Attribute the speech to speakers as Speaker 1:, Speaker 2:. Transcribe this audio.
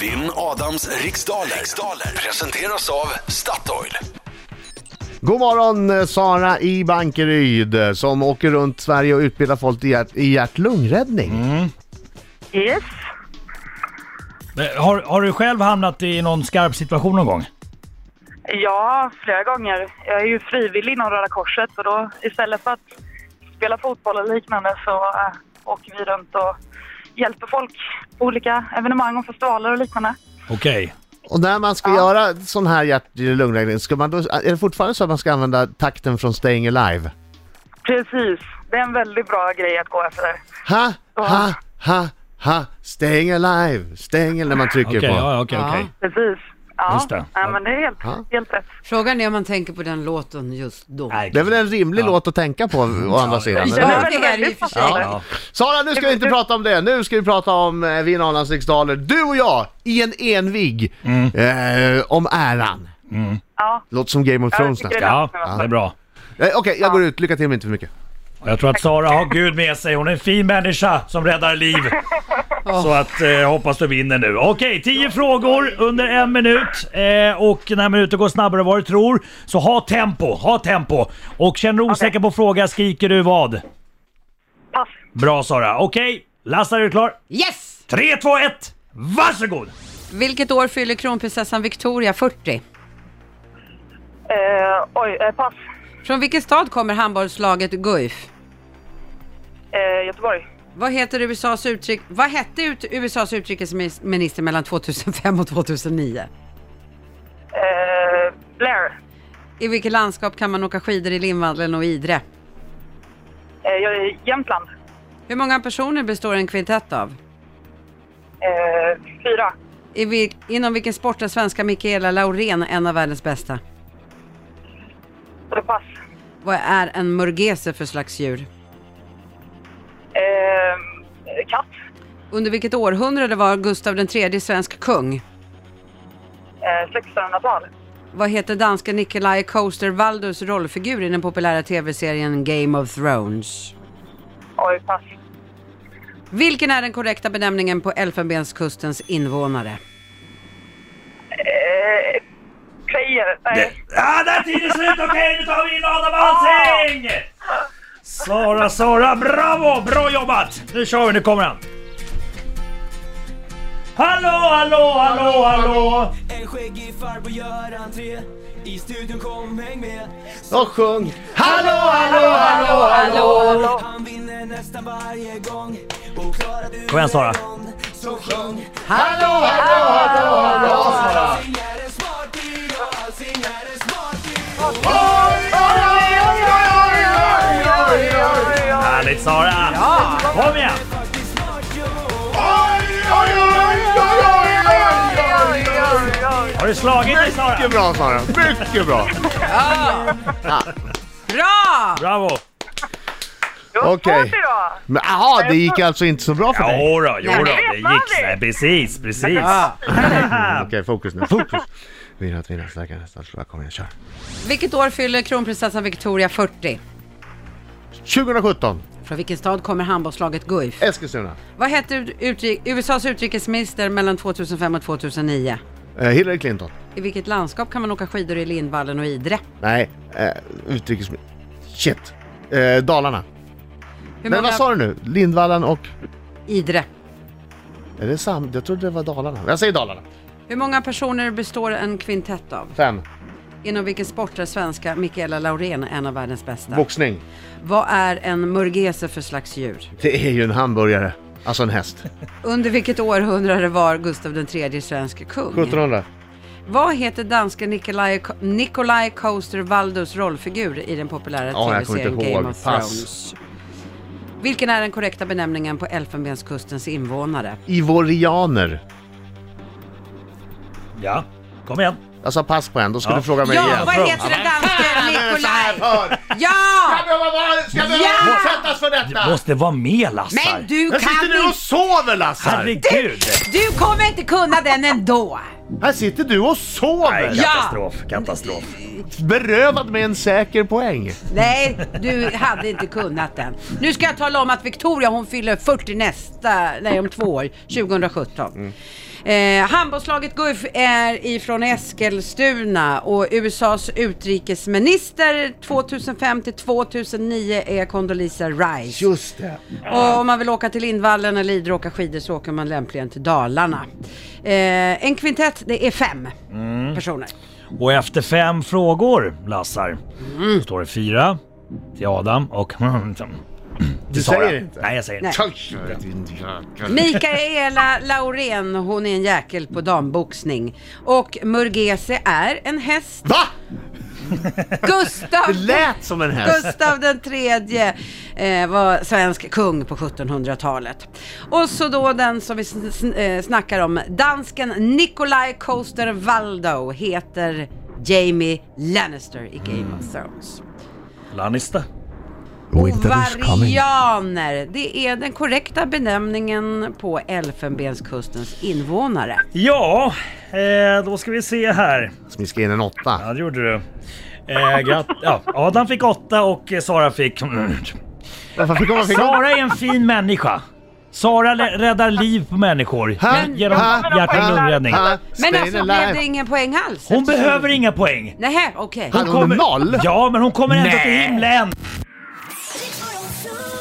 Speaker 1: Vinn Adams riksdaler. riksdaler presenteras av Statoil.
Speaker 2: God morgon eh, Sara i Bankeryd eh, som åker runt Sverige och utbildar folk i hjärt- i hjärt-lungräddning.
Speaker 3: Yes.
Speaker 4: Eh, Har, har du själv hamnat i någon skarp situation någon gång?
Speaker 3: Ja, flera gånger. Jag är ju frivillig inom Röda Korset och då istället för att spela fotboll och liknande så äh, åker vi runt och hjälper folk på olika evenemang och festivaler och liknande.
Speaker 4: Okej.
Speaker 2: Och när man ska göra sån här hjärt-lungräddning, ska man då, är det fortfarande så att man ska använda takten från Staying Alive?
Speaker 3: Precis. Det är en väldigt bra grej att gå efter.
Speaker 2: Ha, ha, ha, ha, Staying Alive, Staying när man trycker
Speaker 4: Okej,
Speaker 2: på.
Speaker 4: ja, okej, okej.
Speaker 3: Precis. Ja,
Speaker 4: Just det.
Speaker 3: Nej, men det är helt,
Speaker 2: Ja.
Speaker 3: helt rätt.
Speaker 5: Frågan är om man tänker på den låten just då.
Speaker 4: Nej,
Speaker 2: Det är väl en rimlig låt att tänka på å andra sidan?
Speaker 3: Den
Speaker 2: eller?
Speaker 5: Ja.
Speaker 3: är väldigt,
Speaker 5: det är det
Speaker 3: väldigt
Speaker 5: i och för sig.
Speaker 3: passande.
Speaker 4: Ja.
Speaker 2: Sara, nu ska vi inte prata om det. Nu ska vi prata om eh, Vin Adams riksdaler. Du och jag i en envig eh, om äran.
Speaker 3: Ja.
Speaker 2: Låter som Game of
Speaker 3: Ja, jag
Speaker 2: Thrones
Speaker 3: tycker
Speaker 2: nästan. Eh,
Speaker 4: Ja, det är bra.
Speaker 2: Okej, jag går ut. Lycka till men inte för mycket.
Speaker 4: Och jag tror att Sara har Gud med sig. Hon är en fin människa som räddar liv. Så att eh, hoppas du vinner nu. Okej, 10 frågor under en minut. Eh, och den här minuten går snabbare än vad du tror. Så ha tempo, ha tempo. Och känner du osäker på fråga skriker du vad?
Speaker 3: Pass.
Speaker 4: Bra Sara. Okej, Lasse är du klar?
Speaker 5: Yes!
Speaker 4: 3, 2, 1. Varsågod!
Speaker 5: Vilket år fyller kronprinsessan Victoria 40?
Speaker 3: Eh, oj, eh, pass.
Speaker 5: Från vilken stad kommer handbollslaget Guif?
Speaker 3: Eh, Göteborg.
Speaker 5: Vad, heter USAs uttryck, vad hette ut, USAs utrikesminister mellan 2005 och 2009?
Speaker 3: Eh, Blair.
Speaker 5: I vilket landskap kan man åka skidor i Lindvallen och Idre?
Speaker 3: Eh, jag är i Jämtland.
Speaker 5: Hur många personer består en kvintett av?
Speaker 3: Eh, fyra.
Speaker 5: I vil, inom vilken sport är svenska Mikaela Laurén en av världens bästa?
Speaker 3: Och det pass.
Speaker 5: Vad är en murgese för slags djur?
Speaker 3: Eh, katt.
Speaker 5: Under vilket århundrade var Gustav III svensk kung?
Speaker 3: Eh, 1600-tal.
Speaker 5: Vad heter danske Nikolaj Coaster Valdus rollfigur i den populära tv-serien Game of Thrones?
Speaker 3: Oj, pass.
Speaker 5: Vilken är den korrekta benämningen på Elfenbenskustens invånare?
Speaker 3: Eh, Player. Nej.
Speaker 4: Ja, där är tiden slut! Okej, nu tar vi in Adam Alsing! Sara, Sara, bravo! Bra jobbat! Nu kör vi, nu kommer han. Hallå, hallå, hallå, hallå!
Speaker 6: En skäggig farbror gör entré I studion kom häng med
Speaker 2: Och sjung!
Speaker 4: Hallå, hallå, hallå, hallå!
Speaker 6: Han vinner nästan varje gång Och klarar du
Speaker 4: Kom igen, Sara.
Speaker 6: någon Som sjöng
Speaker 4: Hallå, hallå, hallå, hallå! Sara.
Speaker 6: Alsing är en smarting och Alsing är en smarting
Speaker 4: Härligt Sara! Ja. Kom igen!
Speaker 6: Faktiskt smart jo
Speaker 4: Har du slagit dig Sara?
Speaker 2: Mycket bra Sara, mycket bra!
Speaker 5: Bra!
Speaker 4: Bravo!
Speaker 3: Det var
Speaker 2: Okej.
Speaker 3: svårt idag.
Speaker 2: Men aha, det gick alltså inte så bra för dig?
Speaker 4: Jodå, jodå, det
Speaker 3: vet man
Speaker 4: gick.
Speaker 3: aldrig.
Speaker 4: Nej, precis, precis.
Speaker 2: Mm, Okej, fokus nu, fokus! Vinna, att vinna, starka nästan, slå, kom igen, kör!
Speaker 5: Vilket år fyller kronprinsessan Victoria 40?
Speaker 2: 2017,
Speaker 5: Från vilken stad kommer handbollslaget Guif?
Speaker 2: Eskilstuna,
Speaker 5: Vad hette utri- USAs utrikesminister mellan 2005 och 2009?
Speaker 2: eh, Hillary Clinton,
Speaker 5: I vilket landskap kan man åka skidor i Lindvallen och Idre?
Speaker 2: nej, eh, utrikesminister, shit, eh, Dalarna.
Speaker 5: Hur
Speaker 2: Men vad sa du nu? Lindvallen och,
Speaker 5: Idre.
Speaker 2: är det sant? Jag trodde det var Dalarna. Jag säger Dalarna.
Speaker 5: Hur många personer består en kvintett av?
Speaker 2: Fem,
Speaker 5: Inom vilken sport är svenska Mikaela Laurén en av världens bästa?
Speaker 2: boxning.
Speaker 5: Vad är en murgese för slags djur?
Speaker 2: Det är ju en hamburgare, alltså en häst.
Speaker 5: Under vilket århundrade var Gustav III svensk kung?
Speaker 2: 1700,
Speaker 5: Vad heter danske Nikolaj, Nikolaj Coaster Valdus rollfigur i den populära
Speaker 2: Ja, jag kommer
Speaker 5: tv-serien
Speaker 2: inte
Speaker 5: Game
Speaker 2: ihåg. Pass.
Speaker 5: of Thrones? Vilken är den korrekta benämningen på Elfenbenskustens invånare?
Speaker 2: ivorianer.
Speaker 4: Ja, kom igen.
Speaker 2: Jag sa pass på en, då ska
Speaker 4: Ja.
Speaker 2: du fråga mig
Speaker 5: Ja,
Speaker 2: igen.
Speaker 5: vad heter den danske Nikolaj? Ja!
Speaker 2: Ska vi
Speaker 5: Ja!
Speaker 2: utsättas för detta?
Speaker 4: Måste vara med Lassar.
Speaker 5: Men du
Speaker 2: Här
Speaker 5: kan
Speaker 2: sitter du och
Speaker 5: inte...
Speaker 2: sover Lassar!
Speaker 4: Herregud!
Speaker 5: Du kommer inte kunna den ändå!
Speaker 2: Här sitter du och sover!
Speaker 4: Nej,
Speaker 5: Ja.
Speaker 4: katastrof, katastrof.
Speaker 2: Berövad med en säker poäng.
Speaker 5: Nej, du hade inte kunnat den. Nu ska jag tala om att Victoria hon fyller 40 nästa, nej om två år, 2017. Eh, handbollslaget Guif är ifrån Eskilstuna och USAs utrikesminister 2005 till 2009 är Condoleezza Rice.
Speaker 2: Just det.
Speaker 5: Och om man vill åka till Lindvallen eller Idre och åka skidor så åker man lämpligen till Dalarna. Eh, en kvintett, det är fem personer.
Speaker 4: Och efter fem frågor, Lassar, står det fyra till Adam och
Speaker 2: Du
Speaker 4: till Sara.
Speaker 2: säger inte.
Speaker 4: Nej, jag säger inte.
Speaker 5: Nej. Mikaela Laurén, hon är en jäkel på damboxning. Och Murgese är en häst.
Speaker 2: Va? Det
Speaker 5: Gustav,
Speaker 2: lät som en häst.
Speaker 5: Gustav den tredje eh, var svensk kung på 1700-talet. Och så då den som vi sn- sn- eh, snackar om, dansken Nikolaj Coaster Waldo heter Jamie Lannister i Game of Thrones.
Speaker 4: Lannister.
Speaker 5: Ovarianer, det är den korrekta benämningen på Elfenbenskustens invånare.
Speaker 4: Ja, eh, då ska vi se här.
Speaker 2: Smiska in en åtta.
Speaker 4: Ja, det gjorde du. Eh, gratt- ja, Adam fick åtta och eh, Sara fick...
Speaker 2: Varför fick hon... Fick hon?
Speaker 4: Sara är en fin människa. Sara lä- räddar liv på människor
Speaker 2: Men-
Speaker 4: genom
Speaker 2: Men-
Speaker 4: hjärt och lungräddning.
Speaker 2: Ha,
Speaker 5: Men
Speaker 2: stay
Speaker 5: alltså blev
Speaker 2: alive.
Speaker 5: det ingen poäng alls?
Speaker 4: Hon behöver inga poäng.
Speaker 5: Nej, okej.
Speaker 2: Hade hon noll?
Speaker 4: Ja, men hon kommer ändå till himlen.
Speaker 7: Riks-FM.